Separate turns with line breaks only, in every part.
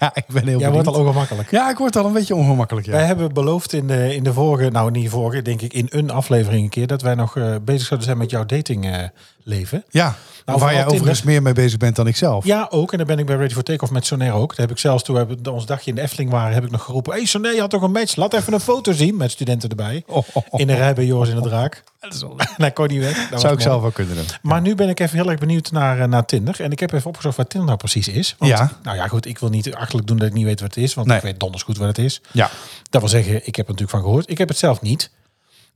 Ja, ik ben heel
Jij wordt
benieuwd.
al ongemakkelijk.
Ja, ik word al een beetje ongemakkelijk, ja.
Wij hebben beloofd in de, in de vorige, nou niet vorige, denk ik in een aflevering een keer... dat wij nog eh, bezig zouden zijn met jouw eh, datingleven.
Ja,
Nou,
waar
vooral
jij overigens
Tinder.
meer mee bezig bent dan ik zelf.
ja, ook. En daar ben ik bij Ready for Takeoff met Soner ook. Daar heb ik zelfs, toen we ons dagje in de Efteling waren... heb ik nog geroepen, hey Soner, je had toch een match? Laat even een foto zien met studenten erbij.
Oh, oh, oh.
In de rij bij Joris in de Draak.
Dat is wel-
En hij kon niet weg. Dat was
zou ik
mooi.
zelf wel kunnen doen.
Maar nu ben ik even heel erg benieuwd naar, eh, naar Tinder. En ik heb even opgezocht wat Tinder nou precies is. Want,
Ja.
Nou ja, goed, ik wil niet achterlijk doen dat ik niet weet wat het is. Want
Nee.
ik weet donders goed wat het is.
Ja.
Dat wil zeggen, ik heb er natuurlijk van gehoord. Ik heb het zelf niet.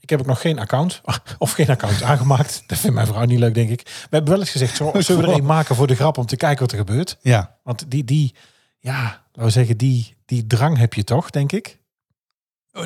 Ik heb ook nog geen account, of geen account aangemaakt. Dat vindt mijn vrouw niet leuk, denk ik. We hebben wel eens gezegd, zo- zullen we er een maken voor de grap om te kijken wat er gebeurt?
Ja.
Want die, die ja, laten we zeggen, die, die drang heb je toch, denk ik?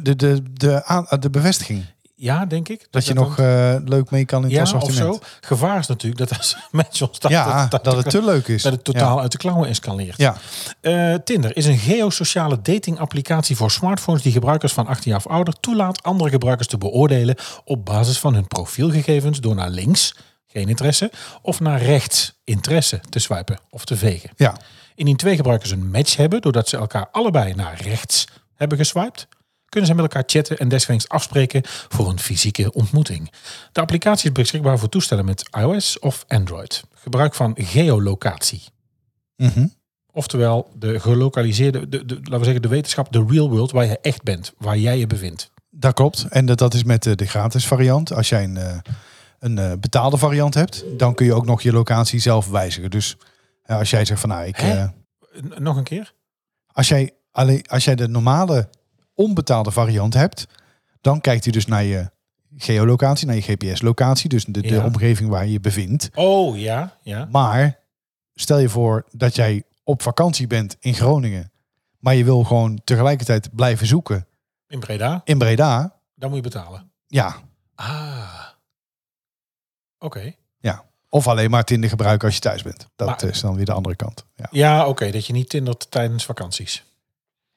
De, de, de, aan- eh, de bevestiging.
Ja, denk ik.
Dat je
dan-
nog eh, leuk mee kan in het
ja, of
assortiment.
zo. Gevaar is natuurlijk dat als mensen ons dat,
Ja, dat, het te leuk is.
dat het totaal uit de klauwen escaleert.
Ja.
Eh, Tinder is een geosociale datingapplicatie voor smartphones die gebruikers van 18 jaar of ouder toelaat andere gebruikers te beoordelen op basis van hun profielgegevens door naar links, geen interesse, of naar rechts, interesse, te swipen of te vegen.
Ja.
Indien twee gebruikers een match hebben doordat ze elkaar allebei naar rechts hebben geswiped, kunnen ze met elkaar chatten en deswegens afspreken voor een fysieke ontmoeting. De applicatie is beschikbaar voor toestellen met iOS of Android. Gebruik van geolocatie.
Mhm.
Oftewel de gelokaliseerde, de, de, laten we zeggen, de wetenschap, de real world, waar je echt bent, waar jij je bevindt.
Dat klopt. En dat, dat is met eh, de gratis variant. Als jij een, eh, een eh, betaalde variant hebt, dan kun je ook nog je locatie zelf wijzigen. Dus eh, als jij zegt van nou, ik,
Hè?
eh,
N- nog een keer?
als, jij, alleen, als jij de normale onbetaalde variant hebt, dan kijkt hij dus naar je geolocatie, naar je GPS-locatie. Dus de, de
Ja.
omgeving waar je je bevindt.
Oh ja, ja.
Maar stel je voor dat jij op vakantie bent in Groningen, maar je wil gewoon tegelijkertijd blijven zoeken
In Breda,
in Breda.
dan moet je betalen.
Ja,
Ah. Oké.
Ja. Of alleen maar Tinder gebruiken als je thuis bent. Dat
Maar-
is dan weer de andere kant. Ja.
Ja, oké, dat je niet tindert tijdens vakanties.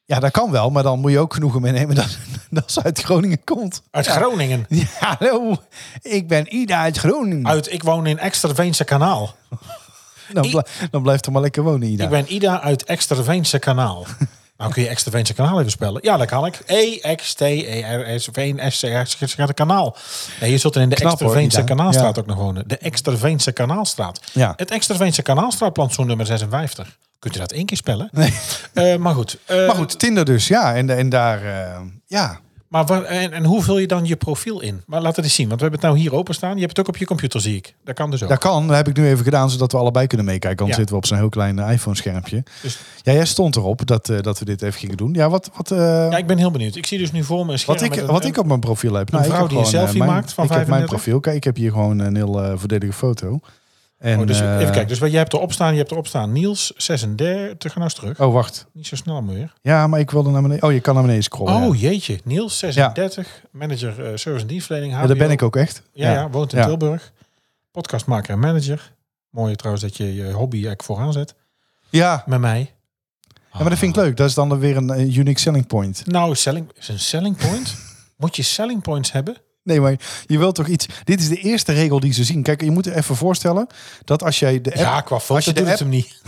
ja, dat kan wel, maar dan moet je ook genoegen meenemen dat, dat ze uit Groningen komt.
Uit Groningen.
Ja, hallo. Ik ben Ida uit Groningen.
Uit, ik woon in Exterveense Kanaal.
dan, bl- dan blijft er maar lekker wonen, Ida.
Ik ben Ida uit Exterveense Kanaal. Nou kun je Exterveense Kanaal even spellen. Ja, dat kan ik. E-X-T-E-R-S Veen s c r Kanaal. Nee, je zult er in de
Knap, hoor,
Exterveense
Ida.
Kanaalstraat
Ja.
ook nog wonen. De Exterveense Kanaalstraat.
Ja.
Het Exterveense Kanaalstraatplantsoen nummer 56. Kunt u dat één keer spellen?
Nee.
Eh, maar goed. eh,
Maar goed, Tinder dus, ja. En, en daar, eh, ja.
Maar waar, en, en hoe vul je dan je profiel in? Maar laat het eens zien, want we hebben het nou hier openstaan. Je hebt het ook op je computer, zie ik. Dat kan dus ook.
Dat kan, dat heb ik nu even gedaan, zodat we allebei kunnen meekijken.
Ja.
Anders zitten we op zo'n heel klein eh, iPhone-schermpje.
Dus-
Ja, jij stond erop dat, eh, dat we dit even gingen doen. Ja, wat, wat, eh,
Ja, ik ben heel benieuwd. Ik zie dus nu voor me een scherm
wat, ik,
met een-
wat ik op mijn profiel heb.
een
ik
vrouw
heb
die een
gewoon, eh,
selfie
mijn-
maakt van
Ik heb mijn
35.
profiel. Kijk, ik heb hier gewoon een heel eh, voordelige foto. En,
Oh, dus
eh,
even kijken. Dus wat jij hebt erop staan, je hebt erop staan. Niels 36. Ga nou eens terug.
Oh, wacht.
Niet zo snel meer.
Ja, maar ik wilde naar beneden. Oh, je kan naar beneden scrollen. ja.
Oh jeetje. Niels 36. Manager eh, service en dienstverlening.
Ja, daar ben ik ook echt.
Ja, ja, woont in
Ja.
Tilburg. Podcastmaker en manager. Mooi trouwens dat je je hobby eigenlijk vooraan zet.
Ja.
Met mij.
Ja, maar dat vind ik leuk. Dat is dan weer een eh, unique selling point.
Nou, selling, is een selling point. Moet je selling points hebben?
Nee, maar je wilt toch iets... Dit is de eerste regel die ze zien. Kijk, je moet je even voorstellen dat als jij de app...
Ja, qua
als
foto
je de
doet het
app-
hem niet.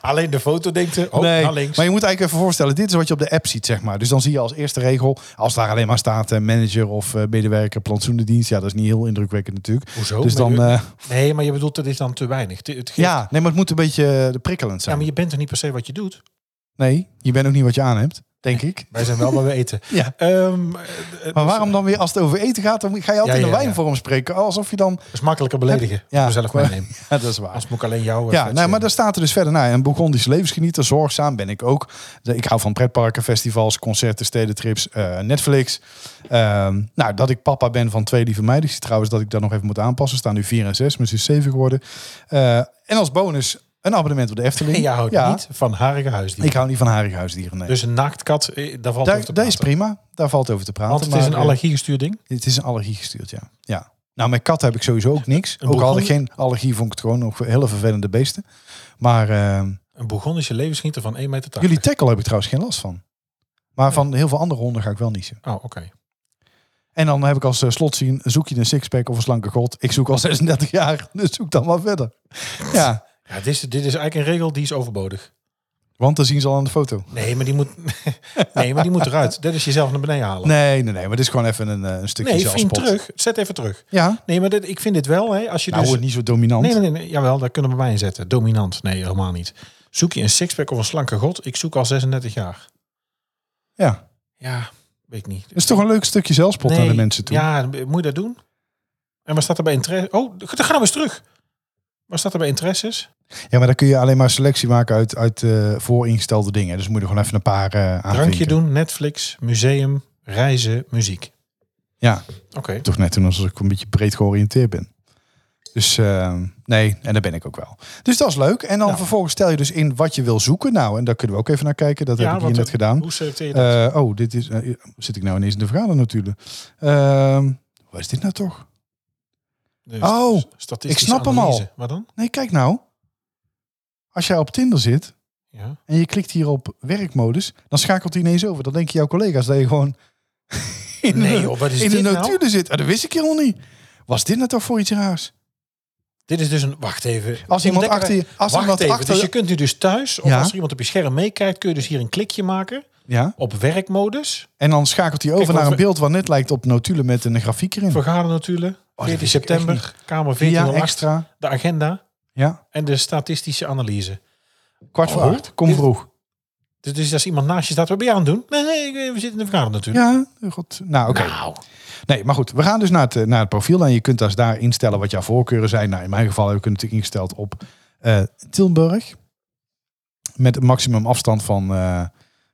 Alleen de foto denkt er, oh,
nee,
naar links.
maar je moet eigenlijk even voorstellen, dit is wat je op de app ziet, zeg maar. Dus dan zie je als eerste regel, als daar alleen maar staat eh, manager of eh, medewerker, plantsoenendienst. Ja, dat is niet heel indrukwekkend natuurlijk.
Hoezo?
Dus dan,
Maar je-
eh,
nee, maar je bedoelt, dat is dan te weinig. Het- het geeft-
ja, nee, maar het moet een beetje eh, prikkelend
ja,
zijn.
maar je bent er niet per se wat je doet.
Nee, je bent ook niet wat je aan hebt, denk ik.
Wij zijn wel waar we eten.
Ja.
Ehm,
Maar waarom dan weer, als het over eten gaat, dan ga je altijd
Ja, ja,
in de
ja.
wijnvorm spreken. Alsof je dan...
dat is makkelijker beledigen.
Ja.
Ja, mezelf meenemen.
Ja, dat is waar.
Als moet ik alleen jou. eh,
Ja,
vet
nou, maar
zeggen.
daar staat er dus verder naar. Een Bourgondisch levensgenieter, zorgzaam ben ik ook. De- Ik hou van pretparken, festivals, concerten, stedentrips, eh, Netflix. Ehm, nou, dat ik papa ben van twee lieve meiden. Ik zie trouwens dat ik dat nog even moet aanpassen. Staan nu vier en zes, maar ze is zeven geworden. Eh, en als bonus een abonnement op de Efteling.
En jij houdt
Ja,
niet van harige huisdieren.
Ik hou niet van harige huisdieren, nee.
Dus een naaktkat, eh, daar valt
daar,
over te
dat is
praten.
prima, daar valt over te praten.
Want het is een
maar, eh,
allergiegestuurd ding.
Het is een allergie gestuurd, ja. ja. Nou, met katten heb ik sowieso ook niks.
Een
ook al had ik
boegon?
geen allergie, vond ik het gewoon nog hele vervelende beesten. Maar eh,
Een Bourgondische levensgenieter van 1,80 meter.
jullie tackle heb ik trouwens geen last van. Maar van heel veel andere honden ga ik wel niezen.
Oh, oké.
En dan heb ik als eh, slot zien, zoek je een sixpack of een slanke god. Ik zoek al 36 jaar, dus zoek dan maar verder. Ja,
Ja, dit is, dit is eigenlijk een regel die is overbodig.
want dan zien ze al aan de foto.
Nee, maar die moet, nee, maar die moet eruit. Dat is jezelf naar beneden halen.
Nee, nee, nee, maar dit is gewoon even een, eh, een stukje
nee vriend,
zelfspot.
terug. Zet even terug.
Ja,
Nee, maar dit, ik vind dit wel, hè, als je
nou
dus...
wordt niet zo dominant.
Nee, nee, nee, jawel, daar kunnen we bij inzetten. Dominant, nee, helemaal niet. Zoek je een sixpack of een slanke god? Ik zoek al 36 jaar.
Ja,
Ja, weet ik niet.
het is toch een leuk stukje zelfspot naar de mensen toe.
Ja, moet je dat doen? En waar staat er bij interesse? Oh, dan gaan we eens terug. Waar staat er bij interesses?
Ja, maar dan kun je alleen maar selectie maken uit, uit eh, vooringestelde dingen. Dus moet je er gewoon even een paar eh aanvinken.
Drankje doen, Netflix, museum, reizen, muziek.
Ja,
Oké.
toch net toen alsof ik een beetje breed georiënteerd ben. Dus eh, nee, en daar ben ik ook wel. Dus dat is leuk. En dan
Ja.
vervolgens stel je dus in wat je wil zoeken. Nou, en daar kunnen we ook even naar kijken. Dat heb ik hier
wat-
net gedaan.
Hoe selecteer je dat?
Eh, oh, dit is. eh, zit ik nou ineens in de vergadernatulen? Ehm wat is dit nou toch?
Dus
oh,
statistische
ik snap hem al.
analyse. Wat dan?
Nee, kijk nou. Als jij op Tinder zit
Ja.
en je klikt hier op werkmodus, dan schakelt hij ineens over. Dan denken jouw collega's dat je gewoon in
Nee,
de,
joh, wat is
in de
dit nou?
notulen zit. Ah, dat wist ik helemaal niet. Was dit nou toch voor iets raars?
Dit is dus een... Wacht even.
Als iemand
Ontdekker-
achter je- als
wacht
iemand
even.
achter
Dus
je-
je kunt nu dus thuis, of
Ja.
als er iemand op je scherm meekijkt, kun je dus hier een klikje maken
Ja.
op werkmodus.
En dan schakelt hij over
Kijk,
naar
want
een beeld wat net lijkt op notulen met een grafiek erin.
Vergadernatulen,
Oh,
14
dat wist ik echt
september, Kamer
Via
1408,
extra.
de agenda
Ja.
en de statistische analyse.
Kwart voor
Oh,
acht. Kom
dit-
vroeg.
Dus, dus als iemand naast je staat, wat ben je aan het doen? Nee, nee, ik- eh, we zitten in de vergadernatulen.
Ja, goed. Nou, oké.
Nou,
Nee, maar goed. We gaan dus naar het, eh, naar het profiel. En je kunt dus daar instellen wat jouw voorkeuren zijn. Nou, in mijn geval heb ik het natuurlijk ingesteld op eh, Tilburg. Met een maximum afstand van... eh,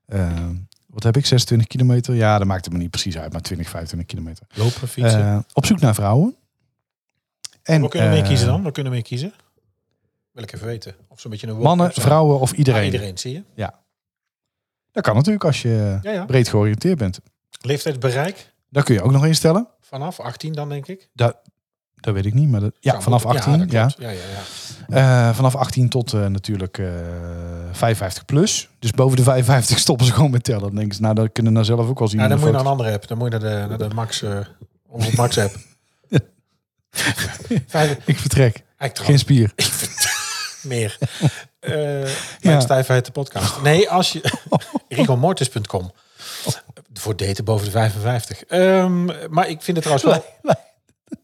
eh, wat heb ik? 26 kilometer? Ja, dat maakt het me niet precies uit. Maar 20, 25 kilometer.
lopen, fietsen.
Eh, op zoek naar vrouwen. En,
we kunnen mee
eh,
kiezen dan, we kunnen mee kiezen. Wil ik even weten. Of zo'n beetje een
Mannen,
woordkap zijn.
vrouwen of iedereen.
Ah, iedereen, zie je.
Dat kan natuurlijk als je
Ja, ja.
breed georiënteerd bent.
Leeftijdsbereik,
Dat kun je ook nog instellen.
vanaf 18 dan denk ik.
Dat weet ik niet, maar dat, ja,
Zou
vanaf
moeten-
18.
dat
Ja,
klopt. ja. ja, ja.
Eh, vanaf 18 tot eh, natuurlijk eh, 55 plus. Dus boven de 55 stoppen ze gewoon met tellen. Dan denken ze, nou, dat kunnen we nou zelf ook wel zien.
Ja,
in
dan
de
moet je naar een
foto.
andere app. Dan moet je naar de, naar de Max, eh onze Max app. Vijf,
Ik vertrek.
ik
Geen
trouwens
spier.
meer. Eh
Ja.
Mijn stijfheid de podcast. Nee, als je... rigomortis.com. Voor daten boven de 55. Ehm, maar ik vind het trouwens wel...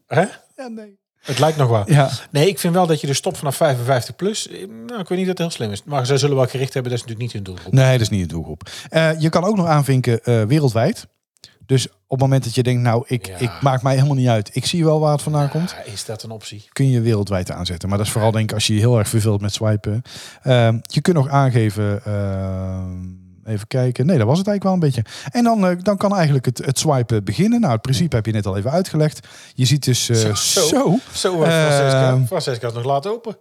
Hè?
Ja, nee.
Het lijkt nog wel.
Ja.
Nee, ik vind wel dat je dus stopt vanaf 55 plus. Eh, Nou, ik weet niet dat het heel slim is. Maar zij zullen wel gericht hebben. Dat is natuurlijk niet hun doelgroep.
Nee, dat is niet de doelgroep. Eh, je kan ook nog aanvinken eh, wereldwijd. Dus op het moment dat je denkt, nou, ik,
Ja.
ik maak mij helemaal niet uit. Ik zie wel waar het vandaan komt.
Ah, is dat een optie?
kun je wereldwijd aanzetten. Maar dat is vooral denk ik als je je heel erg verveelt met swipen. Ehm, je kunt nog aangeven, ehm, even kijken. Nee, dat was het eigenlijk wel een beetje. En dan, eh, dan kan eigenlijk het, het swipen beginnen. Nou, het principe heb je net al even uitgelegd. Je ziet dus eh,
Zo,
zo.
zo. Zo, eh, Francesca,
Ehm.
Francesca is nog laat open.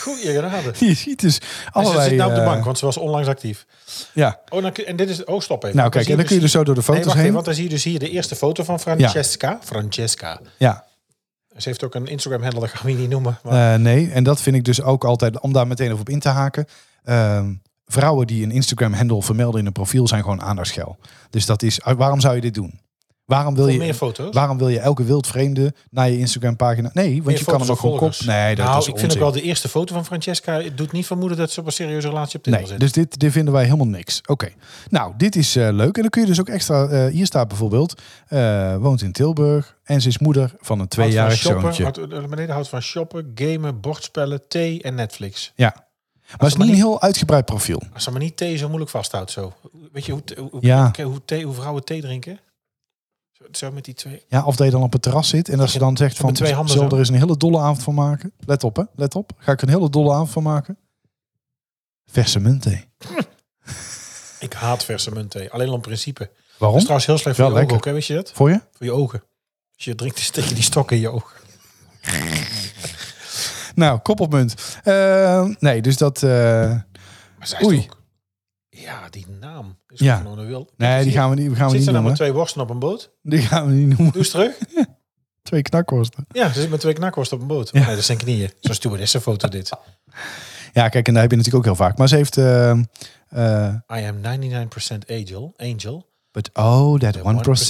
Goeie genade.
Je ziet dus allerlei...
en ze zit nou op de
eh,
bank, want ze was onlangs actief.
ja,
Oh, dan kun, en dit is... Oh, stop even.
nou kijk, en dan kun je dus zo door de
Nee,
foto's
wacht
heen.
even, want dan zie je dus hier de eerste foto van Francesca. Francesca.
Ja,
Ze heeft ook een Instagram-handle, dat gaan we hier niet noemen. Maar
eh, nee. En dat vind ik dus ook altijd, om daar meteen op in te haken... ehm, Vrouwen die een Instagram-handle vermelden in een profiel zijn gewoon aandachtsgel. Dus dat is, waarom zou je dit doen? Waarom wil
voor
je
meer foto's.
Waarom wil je elke wildvreemde naar je Instagram pagina? Nee, want
Meer
je kan
foto's
hem ook
van
gewoon kop.
volgers.
Nee, dat
nou,
is
ik
onzin.
vind ook wel de eerste foto van Francesca. Het doet niet vermoeden dat ze op een serieuze relatie op Tinder
Nee,
zit.
dus dit, dit vinden wij helemaal niks. Oké, nou, dit is eh, leuk. En dan kun je dus ook extra... eh, hier staat bijvoorbeeld, eh, woont in Tilburg en ze is moeder
Houdt
van een
van
tweejarig
shoppen,
zoontje.
houdt- eh, Beneden houdt van shoppen, gamen, bordspellen, thee en Netflix.
Ja, maar het is
maar
niet een
niet-
heel uitgebreid profiel.
Als ze maar niet thee zo moeilijk vasthoudt zo. Weet je hoe, hoe, hoe,
Ja.
hoe, thee, hoe vrouwen thee drinken? Zo, zo met die twee.
Ja, of dat je dan op het terras zit en dat ze dan zegt
Zo met
van...
twee handen
Zullen we
zo.
er eens een hele dolle avond van maken? Let op, hè. Let op. Ga ik er een hele dolle avond van maken? Verse muntthee.
Ik haat verse muntthee. Alleen al in principe. Dat is
Waarom?
trouwens heel slecht voor
Wel
je ogen ook,
lekker.
hè, weet je dat?
Voor je?
Voor je ogen. Als je drinkt, dan steek je die stok in je ogen.
Nou, koppelmunt. Eh, nee, dus dat... eh,
Maar zij is
Oei.
ook- Ja, die naam. Is
Ja.
ja. Van een wil.
Nee, die gaan we niet, die gaan we
Zit
niet
ze nou
noemen.
met twee worsten op een boot?
Die gaan we niet noemen.
Doe eens terug.
Twee knakworsten.
Ja, ze zit met twee knakworsten op een boot. Nee, dat zijn knieën. Zo'n stewardessenfoto dit.
Ja, kijk, en daar heb je natuurlijk ook heel vaak. Maar ze heeft... eh, eh,
I am 99% angel. angel.
but oh, that 1%.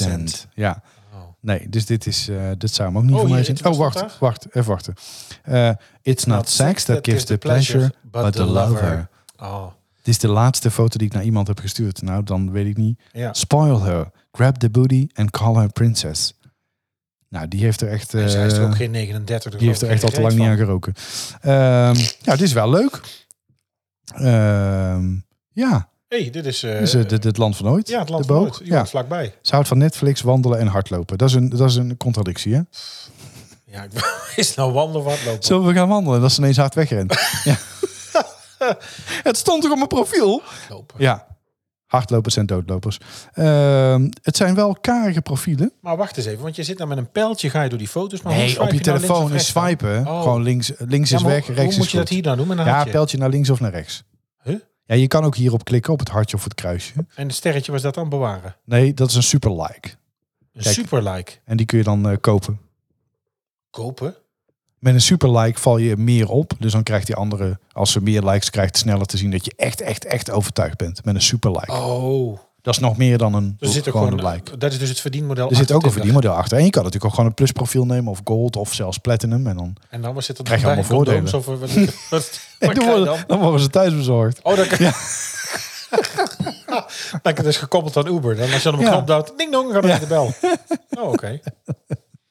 1%.
Ja.
Oh.
Nee, dus dit is... eh dit zou hem ook niet
Oh,
voor mij
hier,
zijn.
iets wat
Oh, wacht,
stond
wacht, even wachten. Eh, it's not sex that gives the pleasure, but the lover.
Oh,
Dit is de laatste foto die ik naar iemand heb gestuurd. Nou, dan weet ik niet.
ja.
Spoil her. Grab the booty and call her princess. Nou, die heeft er echt...
Dus hij is er
eh,
ook geen 39. dus
Die heeft er
ook
echt al
geen
te lang niet aan
reet
geroken. Ehm, ja, dit is wel leuk. Ehm, ja, dus,
van. hey, dit is... eh,
dit is het, het- het land van ooit.
ja, het land
de
van
boog.
Noord. Je
Ja.
woont vlakbij.
Ze houdt van Netflix, wandelen en hardlopen. Dat is een, dat is een contradictie, hè?
Ja, ik, is het nou wandelen of hardlopen?
Zullen we gaan wandelen? Dat is ineens hard wegrent. ja. het stond toch op mijn profiel?
Lopen.
Ja. Hardlopers en doodlopers. Ehm, het zijn wel karige profielen.
Maar wacht eens even, want je zit dan met een pijltje, ga je door die foto's. Maar Oh, hoe
Nee,
swipe
op je
nou links of
telefoon
rechts
is
dan?
swipen.
Oh.
Gewoon links, links
Ja,
is
maar
weg,
hoe-
rechts
Hoe moet
is
je dat
goed.
hier nou doen met een
Ja,
hartje?
pijltje naar links of naar rechts.
Huh?
Ja, je kan ook hierop klikken op het hartje of het kruisje.
En het sterretje was dat dan bewaren.
Nee, dat is een super like.
Een
Kijk.
super like.
En die kun je dan eh, kopen.
Kopen?
Met een super like val je meer op. Dus dan krijgt die andere, als ze meer likes krijgt, sneller te zien dat je echt, echt, echt overtuigd bent. Met een super like.
Oh.
Dat is nog meer dan een
Dus er zit ook
gewone
gewoon,
like.
Dat is dus het verdienmodel.
Er zit
achter
ook een
Tinder.
verdienmodel achter. En je kan natuurlijk ook gewoon een plusprofiel nemen of gold of zelfs platinum. En dan
En dan was het er
Krijg je
bij,
allemaal voordelen.
condooms Of, wat, wat, wat
Nee,
krijg je
dan, worden,
dan?
dan worden ze thuisbezorgd.
Oh, dan kan Dan kan het is gekoppeld aan Uber. Dan als je dan op een
Ja.
knop duwt, ding dong, gaat het de bel. Oh, oké.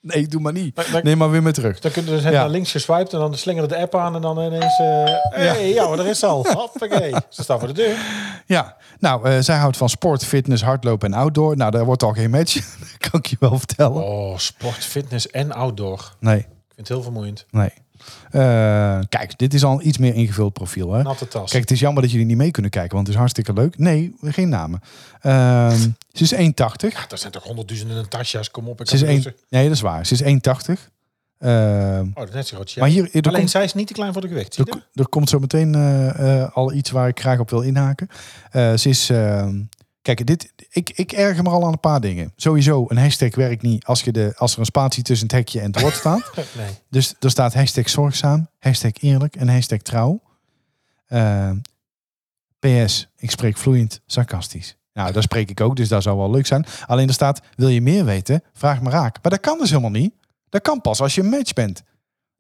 Nee, doe maar niet.
Maar- maar-
Neem maar weer mee terug.
Dan kunnen ze
Ja.
naar links geswiped en dan slingeren de app aan en dan ineens... eh hey, ja, maar er is ze al. Hoppakee. Ze staan voor de deur.
Ja, nou, eh, zij houdt van sport, fitness, hardlopen en outdoor. Nou, daar wordt al geen match. dat kan ik je wel vertellen.
Oh, sport, fitness en outdoor.
Nee,
Ik vind het heel vermoeiend.
nee. Eh, kijk, dit is al een iets meer ingevuld profiel. Hè?
Natte tas.
Kijk, het is jammer dat jullie niet mee kunnen kijken, want het is hartstikke leuk. Nee, geen namen. Ehm, ze is 1,80.
Er ah, zijn toch honderdduizenden tasjas, kom op. Ik
Ze is
had
één.
het eerst-
nee, dat is waar. Ze is 1,80. Ehm,
Oh, dat is net zo groot. Ja.
maar hier, er,
Alleen
komt,
zij is niet te klein voor de gewicht. Zie je
er, er komt zo meteen eh, eh, al iets waar ik graag op wil inhaken. Eh, ze is... ehm, Kijk, dit, ik, ik erger me al aan een paar dingen. Sowieso, een hashtag werkt niet als, je de, als er een spatie tussen het hekje en het woord staat.
dat? Nee.
Dus er staat hashtag zorgzaam, hashtag eerlijk en hashtag trouw. Ehm, PS, ik spreek vloeiend sarcastisch. Nou, daar spreek ik ook, dus dat zou wel leuk zijn. Alleen er staat, wil je meer weten? Vraag me raak. Maar dat kan dus helemaal niet. Dat kan pas als je een match bent.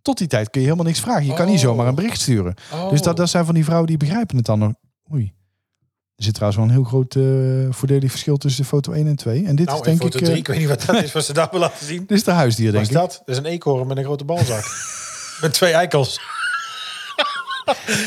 Tot die tijd kun je helemaal niks vragen. Je kan niet
Oh.
zomaar een bericht sturen.
Oh.
Dus dat, dat zijn van die vrouwen die begrijpen het dan nog. Oei. Er zit trouwens wel een heel groot eh, voordelig verschil tussen de foto 1 en 2. En dit
nou,
is
en
denk ik...
foto
eh,
drie, ik weet niet wat dat is, wat ze daar hebben laten zien.
dit is de huisdier,
Wat
denk
is
ik.
dat? Dat is een eekhoorn met een grote balzak. met twee eikels.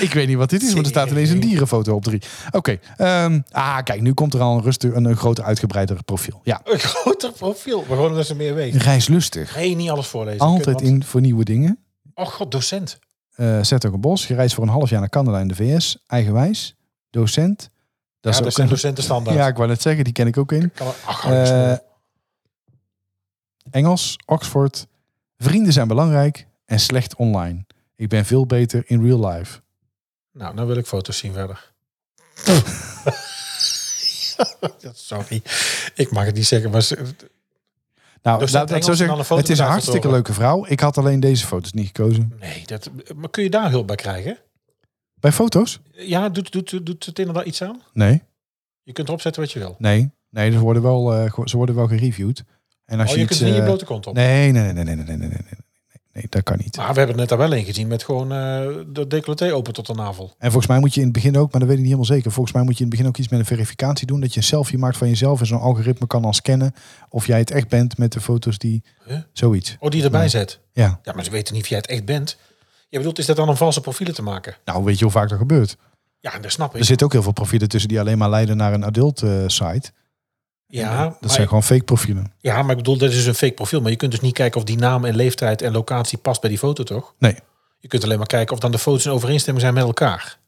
Ik weet niet wat dit is, want er staat ineens een dierenfoto op drie. Oké. ehm, ah, kijk, nu komt er al een, rustig, een, een groter, uitgebreider profiel. Ja.
Een groter profiel. Maar gewoon omdat ze meer weet.
Reislustig.
Hey, niet alles voorlezen.
Altijd
Kunnen we-
in voor nieuwe dingen.
Oh god, docent.
Eh zet ook een bos. Gereisd voor een half jaar naar Canada en de VS. Eigenwijs. Docent.
Dat ja,
ook
dat zijn
een-
docenten standaard.
Ja, ik wou net zeggen, die ken ik ook in.
Kan er- ach, hou je
Eh,
smoel.
Engels, Oxford. Vrienden zijn belangrijk en slecht online. Ik ben veel beter in real life.
nou, nou wil ik foto's zien verder. Ja, Sorry, ik mag het niet zeggen, maar ze-
Nou,
Docent
laat ik het zo
Dus Engels en dan een
zeggen.
foto
Het is een
erbij
hartstikke
verzorgen.
leuke vrouw. Ik had alleen deze foto's niet gekozen.
nee, dat, maar kun je daar hulp bij krijgen?
Bij foto's?
Ja, doet, doet, doet het inderdaad iets aan?
Nee.
Je kunt erop zetten wat je wil.
Nee, nee ze, worden wel, eh, ge- ze worden wel gereviewd. En als
Oh,
je,
je
iets,
kunt er niet je
eh,
blote kont op.
nee, nee, nee, nee, nee, nee, nee, nee, nee, nee, nee, dat kan niet.
Maar we hebben het net daar wel in gezien met gewoon eh de decolleté open tot de navel.
En volgens mij moet je in het begin ook, maar dat weet ik niet helemaal zeker. Volgens mij moet je in het begin ook iets met een verificatie doen. Dat je een selfie maakt van jezelf en zo'n algoritme kan dan scannen of jij het echt bent met de foto's die
Huh?
zoiets.
Oh, die erbij zet.
Ja,
Ja, maar ze weten niet of jij het echt bent. Je bedoelt, is dat dan om valse profielen te maken?
nou weet je hoe vaak dat gebeurt.
Ja, dat snap ik.
Er zitten ook heel veel profielen tussen die alleen maar leiden naar een adult eh, site.
ja,
Dat
maar,
zijn gewoon fake profielen.
ja, maar ik bedoel, dat is een fake profiel. Maar je kunt dus niet kijken of die naam en leeftijd en locatie past bij die foto, toch?
Nee.
Je kunt alleen maar kijken of dan de foto's in overeenstemming zijn met elkaar.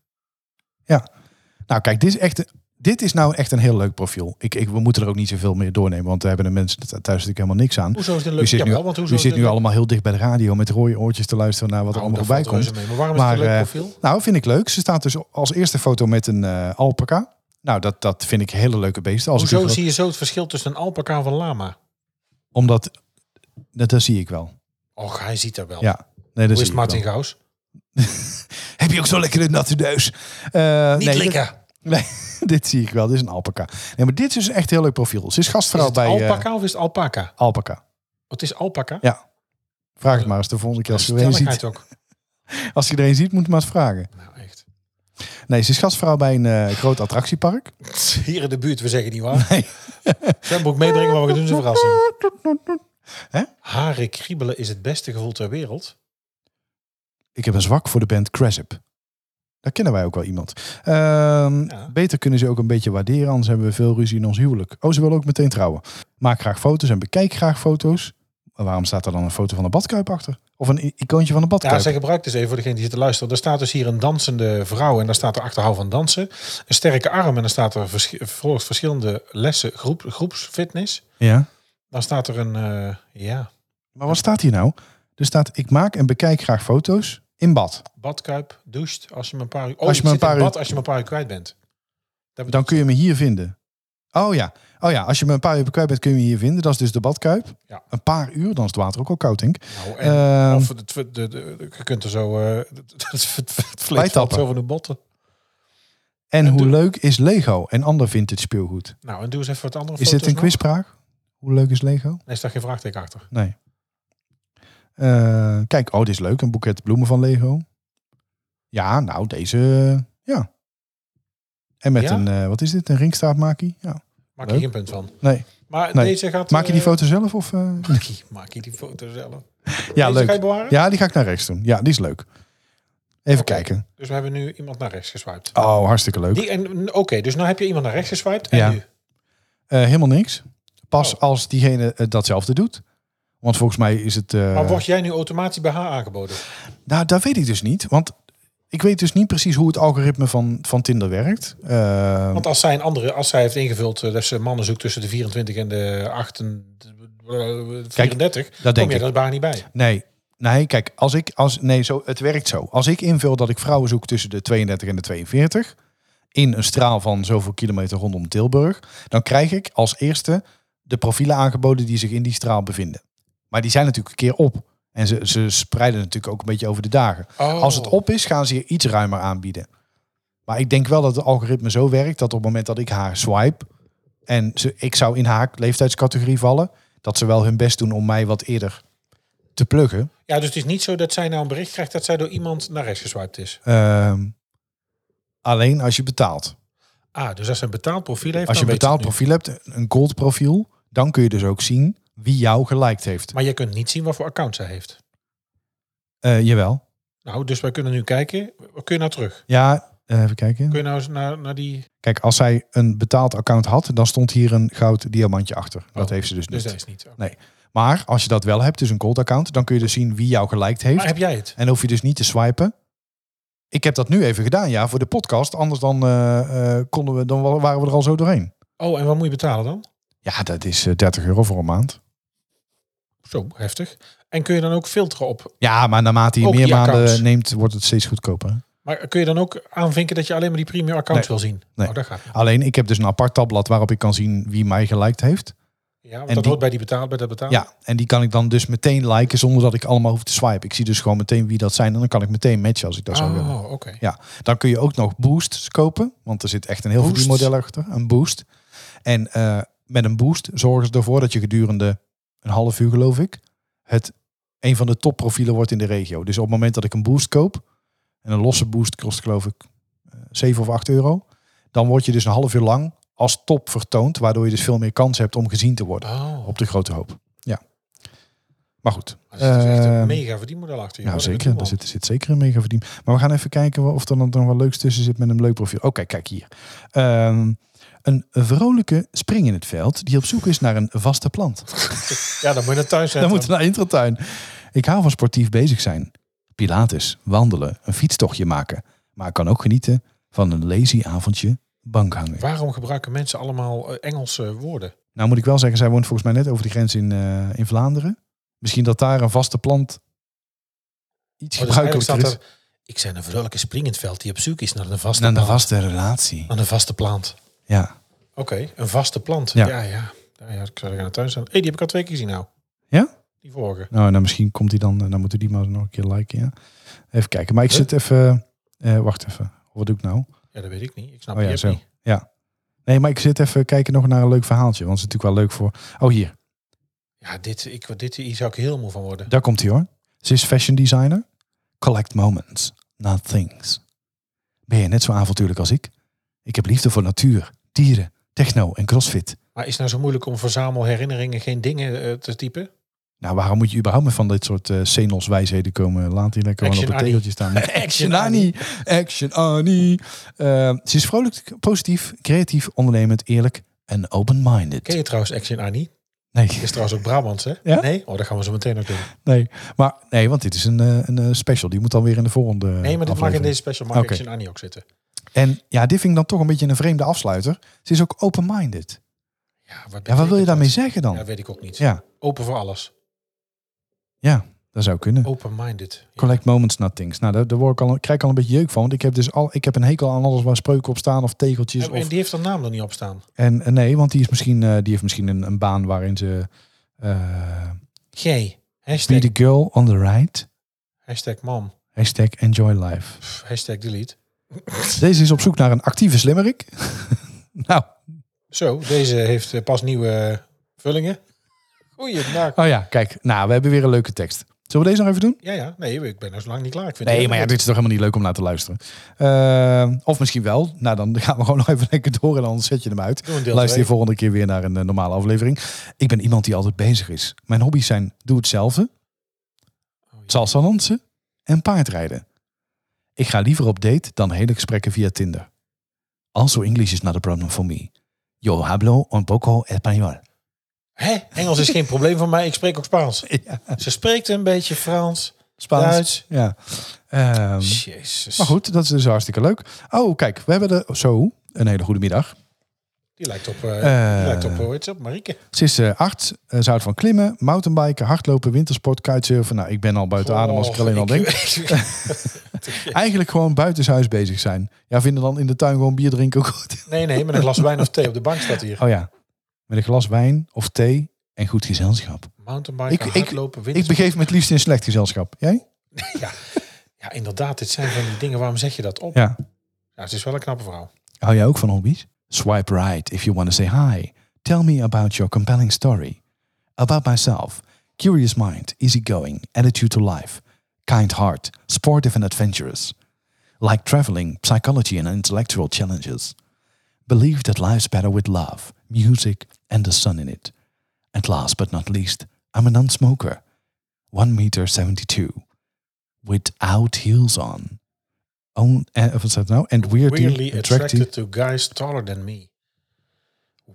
Nou, kijk, dit is echt. een- Dit is nou echt een heel leuk profiel. Ik, ik, we moeten er ook niet zoveel meer doornemen, want daar hebben de mensen thuis natuurlijk helemaal niks aan.
Hoezo is dit leuk?
U zit, nu,
Jawel, want hoezo
u
is
zit
dit
nu
leuk?
allemaal heel dicht bij de radio met rode oortjes te luisteren naar wat er
Nou,
allemaal
daar
voorbij
valt reuze
komt.
mee. Maar waarom is het een leuk
eh,
profiel?
nou, vind ik leuk. Ze staat dus als eerste foto met een eh, alpaca. Nou, dat, dat vind ik hele leuke beesten. Als ik
Hoezo
u-
zie je zo het verschil tussen een alpaca en een lama?
Omdat Dat, dat zie ik wel.
Och, hij ziet er wel.
Ja. Nee, dat
Hoe is
zie ik
Martin
wel. Eh,
Gaus?
Heb je ook zo'n lekkere natte neus? Eh,
Niet
nee,
likken.
dit- nee, dit zie ik wel. Dit is een alpaca. Nee, maar dit is dus echt een heel leuk profiel. Ze is
Is
gastvrouw
het
bij eh,
alpaca of is het alpaca?
alpaca.
Het is alpaca.
Vraag het maar eens de volgende keer als je er een ziet.
Stelligheid ook.
Als je er een ziet, moet je maar eens vragen.
Nou, echt.
Nee, ze is gastvrouw bij een eh, groot attractiepark.
Hier in de buurt, we zeggen niet waar.
Nee.
Zwembroek meebrengen, maar we doen ze een verrassing.
Hè?
Haren kriebelen is het beste gevoel ter wereld.
Ik heb een zwak voor de band Crasip. Daar kennen wij ook wel iemand. Ehm,
Ja.
Beter kunnen ze ook een beetje waarderen, anders hebben we veel ruzie in ons huwelijk. Oh, ze willen ook meteen trouwen. Maak graag foto's en bekijk graag foto's. Maar Waarom staat er dan een foto van de badkuip achter? Of een i- icoontje van de
Ja,
badkuip?
zij gebruikt dus even voor degene die zit te luisteren. Er staat dus hier een dansende vrouw en daar staat er achterhou van dansen. Een sterke arm en dan staat er vers volgens verschillende lessen groep, groepsfitness.
ja.
Dan staat er een, eh, ja,
Maar wat staat hier nou? Er staat, ik maak en bekijk graag foto's in bad.
badkuip, doucht. Als je me een paar uur, oh,
Als je
ik
me
zit
een paar
in
uur-
bad als je me een paar uur kwijt bent. Dat
Dan kun je me hier vinden. Oh ja, oh ja. als je me een paar uur kwijt bent, kun je me hier vinden. Dat is dus de badkuip.
Ja.
Een paar uur, dan is het water ook al koud, denk ik.
Nou, en
Ehm,
of het, het- de, de- de- je kunt er zo eh, het, het, het vlees valt
Bijtappen.
zo van de botten.
en hoe
doe-
leuk is Lego en ander vintage speelgoed?
Nou, en doe eens even wat andere
Is
foto's
dit een
nog.
quizvraag? Hoe leuk is Lego?
Nee, staat geen vraagteken achter.
Nee. Eh, kijk, oh, dit is leuk. Een boeket bloemen van Lego. Ja, nou, deze. eh, Ja. En met
Ja?
een, eh, wat is dit? Een ringstaafmakie? Ja.
Maak je
Leuk.
geen punt van.
Nee.
Maar
Nee.
deze gaat...
Maak je die
eh,
foto zelf? Of, eh?
Maak je, maak je die foto zelf.
Ja,
Deze ga je
leuk.
bewaren?
Ja, die ga ik naar rechts doen. Ja, die is leuk. Even
Oké.
kijken.
Dus we hebben nu iemand naar rechts geswiped.
Oh, hartstikke leuk.
Die en Oké, dus nou heb je iemand naar rechts geswiped. En
Ja.
nu?
Eh, helemaal niks. Pas
Oh.
als diegene eh, datzelfde doet. Want volgens mij is het. eh,
Maar word jij nu automatisch bij haar aangeboden?
Nou, dat weet ik dus niet. Want ik weet dus niet precies hoe het algoritme van, van Tinder werkt. Eh,
Want als zij een andere, als zij heeft ingevuld eh, dat ze mannen zoekt tussen de 24 en de eh, 38,
Kijk,
34,
dat
kom
denk
je
ik.
dat bij haar niet bij.
Nee. Nee, kijk, als ik, als, nee zo, het werkt zo. Als ik invul dat ik vrouwen zoek tussen de 32 en de 42, in een straal van zoveel kilometer rondom Tilburg, dan krijg ik als eerste de profielen aangeboden die zich in die straal bevinden. Maar die zijn natuurlijk een keer op. En ze, ze spreiden natuurlijk ook een beetje over de dagen.
Oh.
Als het op is, gaan ze je iets ruimer aanbieden. Maar ik denk wel dat het algoritme zo werkt dat op het moment dat ik haar swipe en ze, ik zou in haar leeftijdscategorie vallen, dat ze wel hun best doen om mij wat eerder te pluggen.
Ja, dus het is niet zo dat zij nou een bericht krijgt dat zij door iemand naar rechts geswiped is.
Ehm, alleen als je betaalt.
Ah, dus als ze een betaald profiel heeft,
Als je
dan
een
weet
betaald
het nu.
profiel hebt, een gold profiel, dan kun je dus ook zien wie jou geliked heeft.
Maar je kunt niet zien wat voor account zij heeft.
Eh, jawel.
Nou, dus wij kunnen nu kijken. Kun je nou terug?
Ja, eh, even kijken.
Kun je nou eens naar, naar die...
Kijk, als zij een betaald account had, dan stond hier een goud diamantje achter. dat
Oh,
heeft ze dus
Dus
niet.
dat is niet.
Nee. Maar als je dat wel hebt, dus een gold account, dan kun je dus zien wie jou geliked heeft.
Maar heb jij het?
En hoef je dus niet te swipen. Ik heb dat nu even gedaan, ja, voor de podcast. Anders dan, eh, eh, konden we, dan wa- waren we er al zo doorheen.
Oh, en wat moet je betalen dan?
Ja, dat is eh, 30 euro voor een maand.
Zo, heftig. En kun je dan ook filteren op?
Ja, maar naarmate je
Ook
meer
die
maanden
accounts.
neemt, wordt het steeds goedkoper. hè?
Maar kun je dan ook aanvinken dat je alleen maar die premium accounts wil zien?
Nee.
Oh, dat gaat niet.
Alleen, ik heb dus een apart tabblad waarop ik kan zien wie mij geliked heeft.
Ja, want
En
dat
die-
hoort bij die betaald, bij dat betaald.
Ja, en die kan ik dan dus meteen liken zonder dat ik allemaal hoef te swipen. Ik zie dus gewoon meteen wie dat zijn en dan kan ik meteen matchen als ik dat zou willen.
Oh, oké.
Ja, dan kun je ook nog boosts kopen, want er zit echt een heel
Boosts?
verdienmodel achter, een boost. En eh, met een boost zorgen ze ervoor dat je gedurende een half uur, geloof ik, het een van de topprofielen wordt in de regio. Dus op het moment dat ik een boost koop, en een losse boost kost geloof ik eh, 7 of 8 euro, dan word je dus een half uur lang als top vertoond, waardoor je dus veel meer kans hebt om gezien te worden
Oh,
op de grote hoop. Ja. Maar goed.
er zit dus echt
Ehm,
een mega verdienmodel achter je.
ja,
hoor. Dat
Nou, zeker.
doet
Daar
man.
zit, zit zeker een mega verdiend. Maar we gaan even kijken wa- of er dan nog wat leuks tussen zit met een leuk profiel. Oké, kijk hier. Ehm, een vrolijke spring in het veld die op zoek is naar een vaste plant.
Ja, dan moet je naar thuis
Dan
zetten.
moet er naar intratuin. Ik hou van sportief bezig zijn. Pilates, wandelen, een fietstochtje maken. Maar ik kan ook genieten van een lazy avondje bank hangen.
Waarom gebruiken mensen allemaal eh, Engelse woorden?
Nou moet ik wel zeggen, zij woont volgens mij net over de grens in, eh, in Vlaanderen. Misschien dat daar een vaste plant iets
Oh, dus eigenlijk
gebruikelijker
staat
is.
er, ik zijn een vrolijke springendveld die op zoek is naar een vaste
Naar een
plant.
vaste relatie.
Naar een vaste plant.
Ja.
Oké, een vaste plant. Ja,
Ja.
ja. ja. ja, ik zou er gaan naar tuin staan. Hé, hey, die heb ik al twee keer gezien nou.
Ja?
Die vorige.
Nou, nou misschien komt die dan. eh, Dan moeten we die maar nog een keer liken. Ja. Even kijken. Maar ik zit even. eh, wacht even. Wat doe ik nou?
Ja, dat weet ik niet. Ik snap
Oh
die
ja,
app
zo.
niet.
Nee, maar ik zit even kijken nog naar een leuk verhaaltje. Want het is natuurlijk wel leuk voor. Oh, hier.
Ja, dit, ik, dit hier zou ik heel moe van worden.
Daar komt hij hoor. Ze is fashion designer. Collect moments, not things. Ben je net zo avontuurlijk als ik? Ik heb liefde voor natuur, dieren, techno en crossfit.
Maar is het nou zo moeilijk om verzamel herinneringen geen dingen eh, te typen?
Nou, waarom moet je überhaupt met van dit soort eh senos wijsheden komen? Laat die lekker gewoon op
Action
het tegeltje staan.
Action
Action Annie! Action Annie! Eh, ze is vrolijk, positief, creatief, ondernemend, eerlijk en open-minded.
Ken je trouwens Action Annie?
Nee,
Is trouwens ook Brabants, hè?
Ja? Eh,
Nee? Oh, dat gaan we zo meteen ook doen.
nee, maar, nee, want dit is een, eh, een eh, special. Die moet dan weer in de volgende
Nee, maar dit mag in
aflevering.
deze special mag
Oké.
Action Annie ook zitten.
En ja, dit vind ik dan toch een beetje een vreemde afsluiter. Ze is ook open-minded.
Ja, wat,
Ja, wat wil je
betekent
daarmee
dat?
zeggen dan?
Ja,
Ja,
weet ik ook niet.
ja,
Open voor alles.
dat zou kunnen.
Open-minded. Oh, Ja.
Collect moments, not things. Nou, daar, daar word ik al, krijg ik al een beetje jeuk van. Want ik heb dus al, ik heb een hekel aan alles waar spreuken op staan of tegeltjes.
En, en
Of,
die heeft haar naam er niet op staan.
en, en nee, want die is misschien, eh, die heeft misschien een, een baan waarin ze eh,
G. Hashtag,
be the girl on the right.
hashtag mom.
Hashtag enjoy life.
Pff, Hashtag delete.
Deze is op zoek naar een actieve slimmerik. nou,
Zo, deze heeft eh, pas nieuwe vullingen. Goeiedag.
oh ja, kijk. Nou, we hebben weer een leuke tekst. Zullen we deze nog even doen?
Ja, ja. Nee, ik ben nog lang niet klaar. Ik vind het
Nee,
heel
maar ja,
leuk.
dit is toch helemaal niet leuk om naar te luisteren. Eh, of misschien wel. Nou, dan gaan we gewoon nog even lekker door en dan zet je hem uit.
Doe een deel
Luister je
twee.
volgende keer weer naar een eh, normale aflevering. Ik ben iemand die altijd bezig is. Mijn hobby's zijn doe het zelf,
Oh, ja.
salsa dansen en paardrijden. Ik ga liever op date dan hele gesprekken via Tinder. Also English is not a problem for me. Yo hablo un poco español.
Hè? Engels is geen probleem voor mij. Ik spreek ook Spaans.
Ja,
Ze spreekt een beetje Frans,
Spaans.
Duits.
Ja. Ehm,
Jezus.
maar goed, dat is dus hartstikke leuk. Oh, kijk, we hebben er zo een hele goede middag.
Die lijkt op, eh,
Eh.
die lijkt op, eh, hoe heet ze, op Marieke.
Ze is eh, arts, eh, ze houdt van klimmen, mountainbiken, hardlopen, wintersport, kitesurfen. Nou, ik ben al buiten adem als ik er
Oh,
alleen al denk. Eigenlijk gewoon buitenshuis bezig zijn. Ja, vinden dan in de tuin gewoon bier drinken ook goed.
nee, nee, met een glas wijn of thee op de bank staat hier.
Oh ja, met een glas wijn of thee en goed gezelschap.
Mountainbiken,
Ik- ik-
hardlopen,
Ik
wind.
begeef me het liefst in slecht gezelschap. Jij?
Ja. ja, inderdaad. Dit zijn van die dingen. Waarom zeg je dat op?
Ja.
Ja, het is wel een knappe vrouw.
Hou jij ook van hobby's? Swipe right if you want to say hi. Tell me about your compelling story. About myself. Curious mind, easygoing, attitude to life. Kind heart, sportive and adventurous. Like traveling, psychology and intellectual challenges. Believe that life's better with love, music and the sun in it. And last but not least, I'm a non-smoker. 1 meter 72. Without heels on. On, eh, wat is dat nou? And weirdly,
Weirdly
attractive.
attracted to guys taller than me.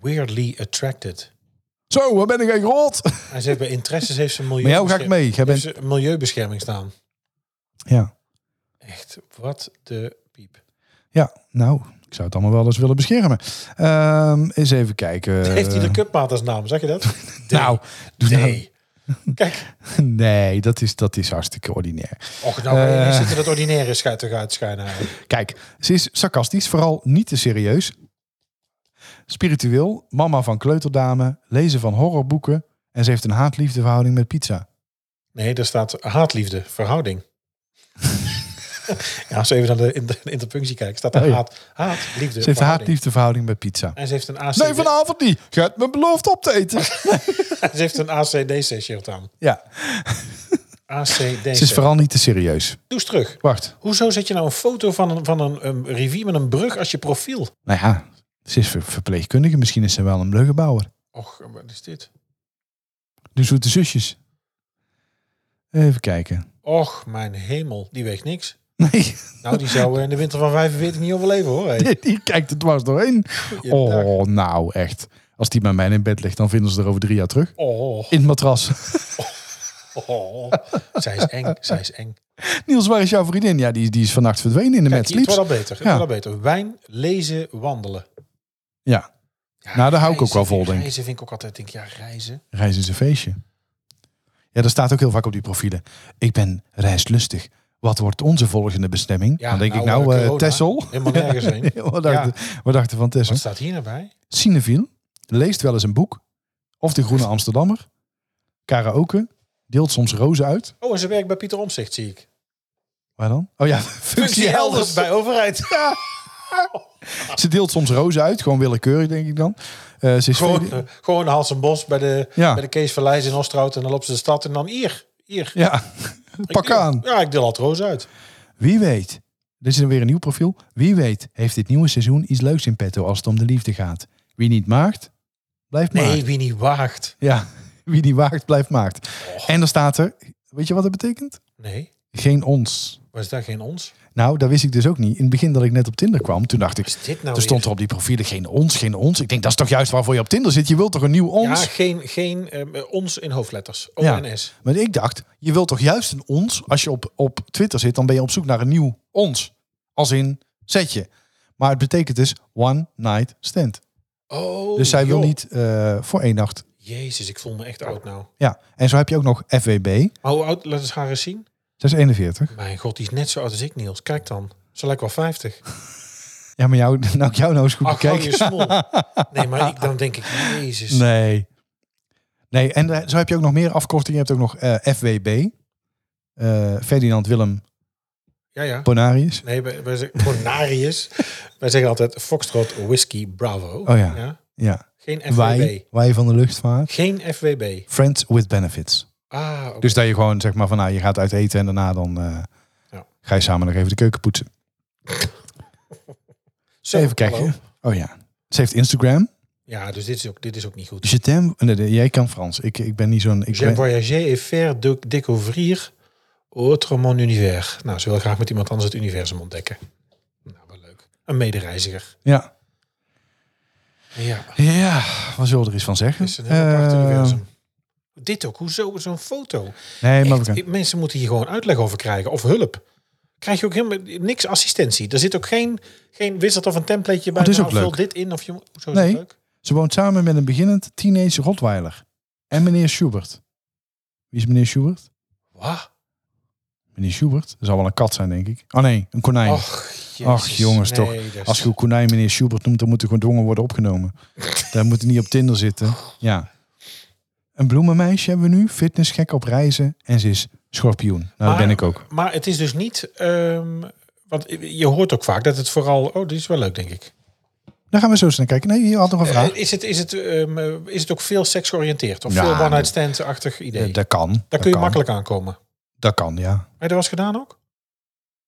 Weirdly attracted.
Zo, waar ben ik eigenlijk rot?
En ze hebben interesses, heeft ze milieu.
Met jou ga ik mee. Jij bent...
milieubescherming staan.
Ja.
Echt, wat de piep.
ja, nou, ik zou het allemaal wel eens willen beschermen. Ehm, eens even kijken. Eh,
Heeft hij de cupmaat als naam, zeg je dat?
Nou, doe
nee.
nou-
Kijk,
Nee, dat is, dat is hartstikke ordinair.
och, nou,
Eh.
uh. zitten dat ordinaire schuit te gaan schijnen.
Kijk, ze is sarcastisch, vooral niet te serieus. Spiritueel, mama van kleuterdame, lezen van horrorboeken... en ze heeft een haat-liefdeverhouding met pizza.
Nee, daar staat haatliefde, verhouding. ja, als we even naar de, inter- interpunctie kijken, staat er
Oh ja.
haat, haat, liefde,
Ze heeft een
verhouding.
haat-liefdeverhouding met pizza.
En ze heeft een ACD,
Nee, vanavond niet. Je hebt me beloofd op te eten.
ze heeft een ACDC-shirt aan.
Ja,
ACDC.
ze is vooral niet te serieus.
Doe eens terug.
Wacht.
Hoezo zet je nou een foto van een, van een, een rivier met een brug als je profiel?
Nou ja, ze is ver- verpleegkundige. Misschien is ze wel een leugenbouwer.
Och, wat is dit?
Dus De zoete zusjes. Even kijken.
Och, mijn hemel, die weegt niks.
Nee,
Nou, die zou eh, in de winter van 45 niet overleven hoor. Hey.
die kijkt er dwars doorheen.
Goeiedag.
Oh, nou echt. Als die bij mij in bed ligt, dan vinden ze er over drie jaar terug.
Oh,
In het matras.
oh. Zij is eng, zij is eng.
Niels, waar is jouw vriendin? Ja, die, die is vannacht verdwenen in de
Kijk,
Mad
hier, het
Sleeps.
wordt al beter. Het
Ja.
wordt al beter. Wijn, lezen, wandelen.
Ja,
Ja,
Nou, daar hou ik ook
reizen-
wel vol, denk ik.
Reizen vind ik ook altijd, denk ik, ja, reizen.
reis is een feestje. Ja, dat staat ook heel vaak op die profielen. Ik ben reislustig. Wat wordt onze volgende bestemming?
Ja,
dan denk
nou,
ik nou,
eh,
eh,
corona.
Tessel.
Helemaal nergens heen.
we, dachten, we dachten van Tessel.
Wat staat hier nou bij?
Cineviel, leest wel eens een boek. Of de Groene Amsterdammer. Karaoke, deelt soms rozen uit.
Oh, en ze werkt bij Pieter Omzicht, zie ik.
Waar dan? Oh ja, functie elders.
bij overheid. Ja.
Ze deelt soms rozen uit, gewoon willekeurig denk ik dan. Eh, ze is
Gewoon,
VD
eh, gewoon Hans en Bos bij de,
Ja.
bij de Kees Verlijs in Oostrout. En dan loopt ze de stad en dan hier. hier.
Ja,
Ik
pak
deel-
aan.
Ja, ik deel al het roos uit.
Wie weet, dit is dan weer een nieuw profiel. Wie weet heeft dit nieuwe seizoen iets leuks in petto als het om de liefde gaat. Wie niet maakt, blijft
Nee,
maagd.
wie niet waagt.
Ja, wie niet waagt, blijft maagd. En dan staat er, weet je wat dat betekent?
Nee,
Geen ons.
was daar geen ons?
Nou, dat wist ik dus ook niet. In het begin dat ik net op Tinder kwam, toen dacht ik...
Is dit nou
er stond er op die profielen geen ons, geen ons. Ik denk, dat is toch juist waarvoor je op Tinder zit? Je wilt toch een nieuw
Ja,
ons?
geen, geen ehm, eh, ons in hoofdletters. O
Ja.
en S.
Maar ik dacht, je wilt toch juist een ons? Als je op, op Twitter zit, dan ben je op zoek naar een nieuw ons. Als in zetje. Maar het betekent dus one night stand.
Oh,
Dus zij wil
joh.
niet eh, voor één nacht.
Jezus, ik voel me echt oud nou.
Ja, en zo heb je ook nog FWB.
Maar hoe oud? Laat eens haar eens zien.
Zij is 41.
Mijn god, die is net zo oud als ik, Niels. Kijk dan. Ze lijkt wel 50.
Ja, maar jou, nou ik jou nou eens goed
Ach, hou
bekijken.
je smol. Nee, maar ik, dan denk ik, jezus.
Nee. Nee, en eh, zo heb je ook nog meer afkortingen. Je hebt ook nog eh, FWB. Eh, Ferdinand Willem
Ja, ja.
Bonarius.
Nee, wij, wij zeggen Bonarius. wij zeggen altijd Foxtrot Whisky Bravo.
Oh ja. Ja,
Geen FWB.
wij, wij van de luchtvaart.
Geen FWB.
Friends with benefits.
Ah, oké.
Dus dat je gewoon zeg maar van nou, je gaat uit eten en daarna dan eh,
Ja.
ga je samen nog even de keuken poetsen.
Zo,
Dus even kijken.
hallo.
Oh ja. Ze heeft Instagram.
Ja, dus dit is ook, dit is ook niet goed.
Je t'aime- eh, nee, nee, jij kan Frans. Ik, ik ben niet zo'n. Ik
J'aime
ben,
voyager et faire de découvrir autrement univers. Nou, ze wil graag met iemand anders het universum ontdekken. Nou, wel leuk. Een medereiziger.
ja.
Ja,
ja, wat zullen we er eens van
het
zeggen?
is een heel apart
Eh,
universum. Dit ook, hoezo zo'n foto?
Nee, maar we
Echt,
gaan-
ik- mensen moeten hier gewoon uitleg over krijgen of hulp. Krijg je ook helemaal niks assistentie. Er zit ook geen, geen wizard of een templateje bij.
dat Oh, is
nou,
ook leuk.
Vul dit in of je moet- hoezo is
Nee.
dat leuk.
Ze woont samen met een beginnend teenage Rottweiler. En meneer Schubert. Wie is meneer Schubert?
Wah.
Meneer Schubert. Dat zal wel een kat zijn, denk ik. Oh nee, een konijn.
Och, jezus.
Ach, jongens,
Nee,
toch.
dat is-
Als je een konijn meneer Schubert noemt, dan moet er gedwongen worden opgenomen. Daar moet hij niet op Tinder zitten. Ja. Een bloemenmeisje hebben we nu. Fitnessgek op reizen. En ze is schorpioen. Nou, dat
Maar-
ben ik ook.
Maar het is dus niet... ehm, want je hoort ook vaak dat het vooral... Oh, dit is wel leuk, denk ik.
Daar gaan we zo eens naar kijken. Nee, je had nog een vraag.
Eh, is, het, is, het, ehm, eh, is het ook veel seksgeoriënteerd? Of
Ja,
veel one-night stand-achtig idee?
Eh, dat kan.
Daar kun je
kan.
makkelijk aankomen. Heb
Dat kan, ja.
je dat was gedaan ook?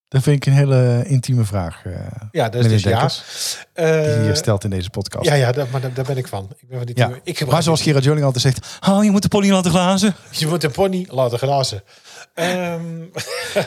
Dat vind ik een hele intieme vraag. eh
Ja, dat is
meneer
dus ja.
Dekkers. Die je
Eh,
hier stelt in deze podcast.
ja, ja, dat, maar daar, daar ben ik van. Ik ben van die
Ja.
team- Ik gebruik
Maar zoals Gerard Joling altijd zegt, oh, je moet de pony laten glazen.
Je moet de pony laten glazen. Ehm,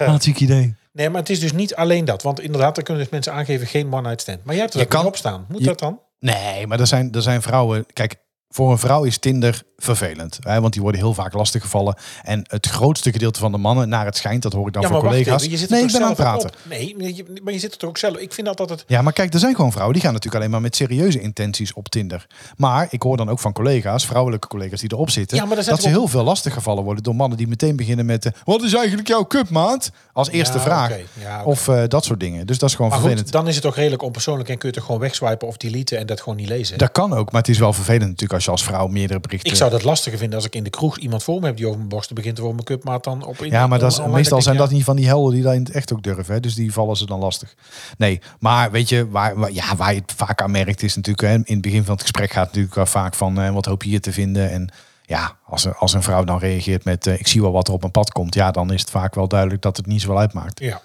Wat een idee.
nee, maar het is dus niet alleen dat. Want inderdaad, daar kunnen dus mensen aangeven geen one-night stand. Maar jij hebt er
Je
ook kan,
kan-
op staan. Moet
je-
dat dan?
Nee, maar er zijn, er zijn vrouwen... Kijk, voor een vrouw is Tinder vervelend. Hè, want die worden heel vaak lastiggevallen. En het grootste gedeelte van de mannen, naar het schijnt, dat hoor ik dan van
maar wacht
collega's.
even, je zit er
nee, ik
toch
ben aan het
zelf
praten.
op? Nee, nee, je- maar je zit er toch ook zelf. Ik vind dat altijd...
Ja, maar kijk, er zijn gewoon vrouwen die gaan natuurlijk alleen maar met serieuze intenties op Tinder. Maar ik hoor dan ook van collega's, vrouwelijke collega's die erop zitten,
Ja, maar er zijn
dat ze
toch ook-
heel veel lastig gevallen worden door mannen die meteen beginnen met eh, wat is eigenlijk jouw cupmaat? Als eerste
Ja,
vraag.
oké, ja, oké.
Of eh, dat soort dingen. Dus dat is gewoon
Maar
vervelend.
goed, dan is het toch redelijk onpersoonlijk en kun je het toch gewoon wegswipen of deleten en dat gewoon niet lezen.
Dat kan ook, maar het is wel vervelend natuurlijk als je als vrouw meerdere berichten...
ik zou dat lastiger vinden als ik in de kroeg iemand voor me heb die over mijn borsten begint over mijn cupmaat dan op...
Ja, maar dat is,
online,
meestal
dan
zijn
oh, denk
dat
ik,
niet van die helden die dat in het echt ook durven. Hè? Dus die vallen ze dan lastig. Nee, maar weet je, waar, waar- ja, waar je het vaak aan merkt is natuurlijk... Hè, in het begin van het gesprek gaat het natuurlijk wel vaak van... eh, wat hoop je hier te vinden? En ja, als, een- als een vrouw dan reageert met... eh, ik zie wel wat er op mijn pad komt. Ja, dan is het vaak wel duidelijk dat het niet zoveel uitmaakt.
Ja.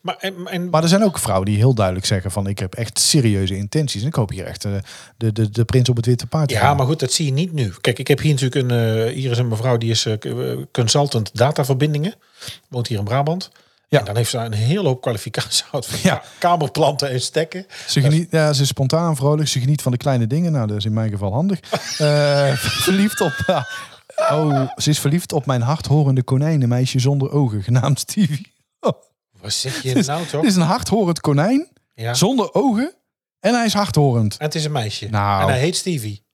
Maar, en, en,
Maar er zijn ook vrouwen die heel duidelijk zeggen van... ik heb echt serieuze intenties. En ik hoop hier echt eh, de, de, de prins op het witte paard te
Ja,
vinden.
maar goed, dat zie je niet nu. Kijk, ik heb hier natuurlijk een. eh, hier is een mevrouw die is eh, k- eh, consultant dataverbindingen. Woont hier in Brabant. Ja.
Ja.
En dan heeft ze een hele hoop kwalificaties uit van
Ja.
ja. kamerplanten en stekken.
Ze, geniet, ja, ze is spontaan, vrolijk. Ze geniet van de kleine dingen. Nou, dat is in mijn geval handig. Eh, verliefd op... oh, ze is verliefd op mijn harthorende konijnenmeisje zonder ogen, genaamd Stevie.
Wat zeg je nou
Het
toch?
is een hardhorend konijn
Ja.
zonder ogen en hij is hardhorend.
En het is een meisje.
Nou.
En hij heet Stevie.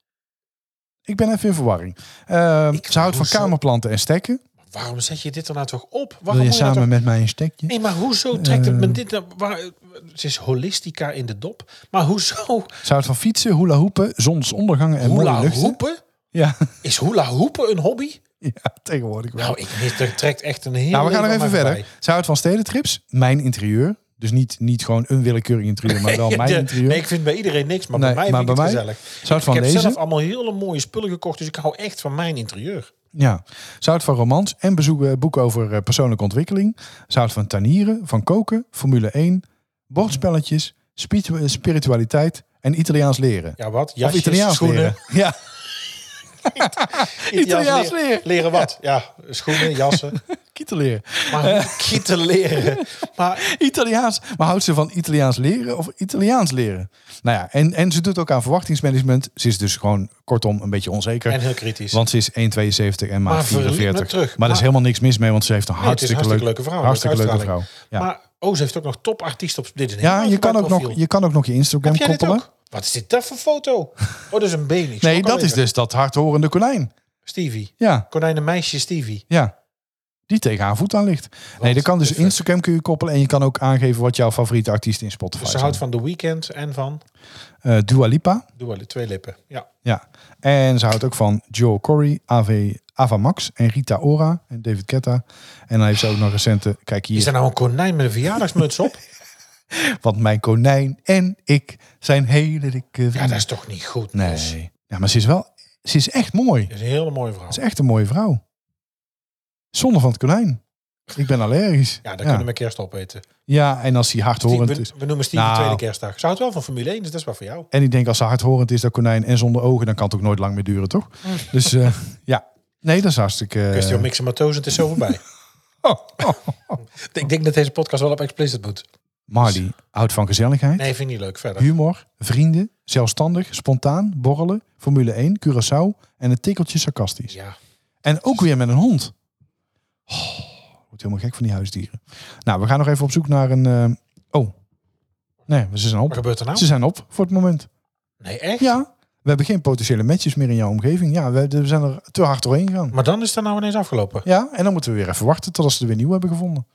Ik ben even in verwarring. Eh,
Ik-
ze houdt van
hoezo?
kamerplanten en stekken.
Maar waarom zet je dit er nou toch op? Waarom
Wil
moet
je
dat
samen
toch-
met mij een stekje?
Nee, maar hoezo trekt het
Eh.
me dit nou? Waar, het is holistica in de dop. Maar hoezo?
Ze houdt van fietsen, hula hoepen, zonsondergangen en mooie
Hula
luchten.
hoepen?
Ja,
Is hula hoepen een hobby?
Ja, tegenwoordig wel.
Nou, ik, dit trekt echt een hele.
Nou, we gaan nog even verder. Ze houdt van stedentrips. Mijn interieur. Dus niet, niet gewoon een willekeurig interieur, maar wel mijn interieur.
nee, ik vind bij iedereen niks, maar
Nee,
bij mij
maar
vind
bij
ik het
mij-
gezellig.
Ze houdt
ik
van
heb
lezen.
zelf allemaal hele mooie spullen gekocht, dus ik hou echt van mijn interieur.
Ja. Ze houdt van romans en bezoek, eh, boeken over eh, persoonlijke ontwikkeling. Ze houdt van tanieren, van koken, Formule 1, bordspelletjes, spiritu- eh, spiritualiteit en Italiaans leren.
Ja, wat?
of
Jasjes,
Italiaans
schoenen.
leren. Ja, Italiaans
leer-
leren.
Leren wat? Ja, schoenen, jassen.
kieten leren.
Maar kieten leren. Maar
Italiaans. Maar houdt ze van Italiaans leren of Italiaans leren? Nou ja, en, en ze doet ook aan verwachtingsmanagement. Ze is dus gewoon kortom een beetje onzeker.
En heel kritisch.
Want ze is 1,72 en maar,
Maar verliep me
44.
terug.
Maar, er
Maar-
is helemaal niks mis mee, want ze heeft een
Nee, het is
hartstikke,
hartstikke
leuk-
leuke vrouw,
Hartstikke
leuke
leuke vrouw.
uitstraling.
Ja,
Maar Oze heeft ook nog topartiest op dit. is een
ja
heel
je, kan ook
uitgebreid
nog,
profiel.
je kan ook nog je Instagram
Heb jij dit
koppelen.
ook? Wat is dit daar voor foto? Oh, dat is een been. Ik
Nee,
schrok al
dat is
even.
dus dat hardhorende konijn.
Stevie.
Ja,
Konijnenmeisje Stevie. Dus
ja. Die tegen haar voet aan ligt. nee, dat kan dus
de fuck?
Instagram kun je koppelen en je kan ook aangeven wat jouw favoriete artiest in Spotify
Dus
is.
ze houdt van The Weeknd en van...
Dua Lipa.
Doe wel de twee lippen. Ja.
Ja. En ze houdt ook van Joe Corey, AV, Ava Max en Rita Ora en David Guetta. En dan heeft ze ook nog recente, kijk hier,
Is er nou een konijn met een verjaardagsmuts op?
want mijn konijn en ik zijn hele dikke
Ja, dat
vrienden.
is toch niet goed. Niels?
nee. Ja, maar ze is wel, ze is echt mooi.
Dat is een hele mooie vrouw.
Ze is echt een mooie vrouw. Zonder van het konijn. Ik ben allergisch.
Ja, dan
ja.
kunnen we kerst opeten.
Ja, en als hij hardhorend
Steve,
is.
we, we noemen Stevie
Nou. Eh.
tweede kerstdag. Ze houdt wel van Formule 1, dus dat is wel voor jou.
En ik denk als ze hardhorend is, dat konijn en zonder ogen, dan kan het ook nooit lang meer duren, toch? Dus eh, ja. Nee, dat is hartstikke... eh,
Hmm. Kwestie van mixen matozen, het is zo voorbij.
oh, oh, oh.
ik denk dat deze podcast wel op explicit moet.
Marley houdt van gezelligheid.
Nee, vind ik niet leuk. Verder.
Humor, vrienden, zelfstandig, spontaan, borrelen, Formule 1, Curaçao en een tikkeltje sarcastisch.
Ja.
En ook weer met een hond. Oh, wordt helemaal gek van die huisdieren. Nou, we gaan nog even op zoek naar een... eh, oh. Nee, ze zijn
Wat
op.
gebeurt er nou?
Ze zijn op voor het moment.
Nee, echt?
Ja, we hebben geen potentiële matches meer in jouw omgeving. Ja, we, we zijn er te hard doorheen gegaan.
Maar dan is dat nou ineens afgelopen.
Ja, en dan moeten we weer even wachten totdat ze er weer nieuw hebben gevonden.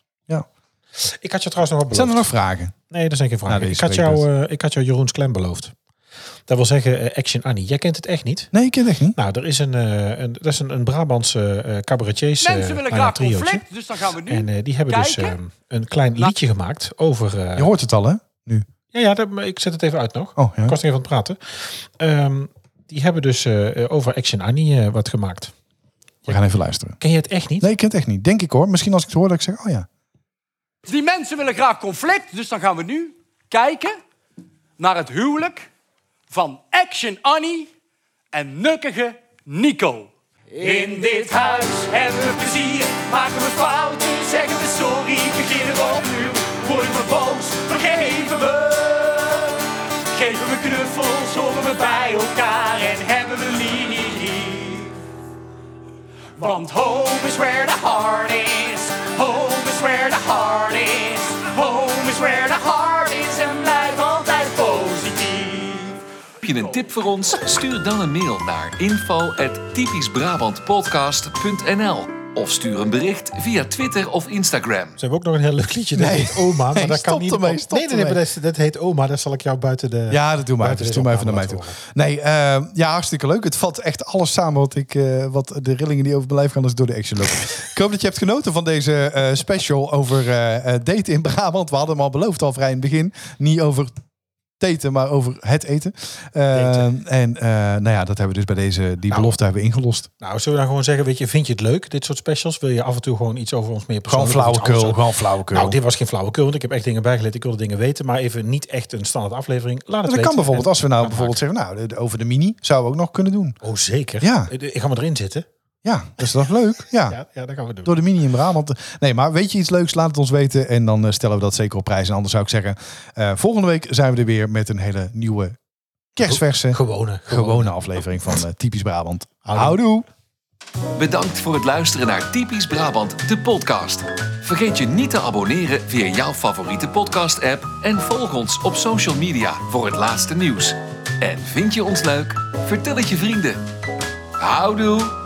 Ik had je trouwens nog wat beloofd.
Zijn er nog vragen?
Nee, dat zijn geen vragen.
Nou, deze
ik, had jou, eh, ik had jou Jeroen's Klem beloofd. Dat wil zeggen, eh, Action Annie. Jij kent het echt niet.
Nee, ik ken het echt niet.
Nou, er is een, eh, een, dat is een, een Brabantse eh cabaretiers eh,
Mensen willen
nou ja,
graag
triootje.
conflict, dus dan gaan we nu.
En eh, die hebben dus
Kijken. Nou.
eh, een klein liedje gemaakt over... eh,
Je hoort het al, hè? Nu.
ja, ja, dat- maar ik zet het even uit nog.
Oh, ja.
Ik was nog even aan het praten. Ehm, die hebben dus eh, eh, over Action Annie eh, wat gemaakt.
We gaan even luisteren.
Ken je het echt niet?
Nee, ik ken het echt niet. Denk ik hoor. Misschien als ik het hoor, dat ik zeg, oh ja.
Die mensen willen graag conflict, dus dan gaan we nu kijken naar het huwelijk van Action Annie en nukkige Nico. In dit huis hebben we plezier, maken we fouten, zeggen we sorry, beginnen we opnieuw. Worden we boos, vergeven we. Geven we knuffels, horen we bij elkaar en hebben we lief. Want home is where the heart is. Home is where the heart is. Home is where the heart is. En blijf altijd positief.
Heb je een tip voor ons? Stuur dan een mail naar info.typischbrabantpodcast.nl of stuur een bericht via Twitter of Instagram.
Ze hebben ook nog een heel leuk liedje. Dat
Nee.
heet Oma. Maar
Nee,
dat kan
stop
niet.
ermee, stop
nee, nee, nee, maar
ermee.
dat, is- dat heet Oma. Dat zal ik jou buiten de.
Ja, dat doe maar even.
buiten
Dus
deze
doe maar even naar mij
opname
toe.
laten horen.
Nee, eh, ja, hartstikke leuk. Het vat echt alles samen wat, ik, eh, wat de rillingen die over mijn lijf gaan als ik door de action loop. ik hoop dat je hebt genoten van deze eh, special over eh eh, daten in Brabant. We hadden hem al beloofd al vrij in het begin. Niet over daten, maar over het eten. Eh, En eh, nou ja, dat hebben we dus bij deze, die belofte hebben we ingelost.
Nou, zullen we dan gewoon zeggen: Weet je, vind je het leuk, dit soort specials? Wil je af en toe gewoon iets over ons meer persoonlijk? of iets anders?
gewoon flauwekul.
Nou, dit was geen flauwekul, want ik heb echt dingen bijgeleid. Ik wilde dingen weten, maar even niet echt een standaard aflevering. Laat het
dat kan
weten.
bijvoorbeeld,
En-
als we nou bijvoorbeeld zeggen, nou, de- de- over de mini zouden we ook nog kunnen doen.
Oh, zeker.
Ja.
Ik ga me erin zitten.
Ja, dat is toch leuk? Ja.
Ja, ja dat gaan we doen.
Door de mini in Brabant. Eh, Nee, maar weet je iets leuks? Laat het ons weten. En dan eh, stellen we dat zeker op prijs. En anders zou ik zeggen, eh, volgende week zijn we er weer met een hele nieuwe kerstverse,
Gewone.
gewone aflevering van eh, Typisch Brabant.
Houdoe.
Houdoe!
Bedankt voor het luisteren naar Typisch Brabant, de podcast. Vergeet je niet te abonneren via jouw favoriete podcast-app en volg ons op social media voor het laatste nieuws. En vind je ons leuk? Vertel het je vrienden. Houdoe!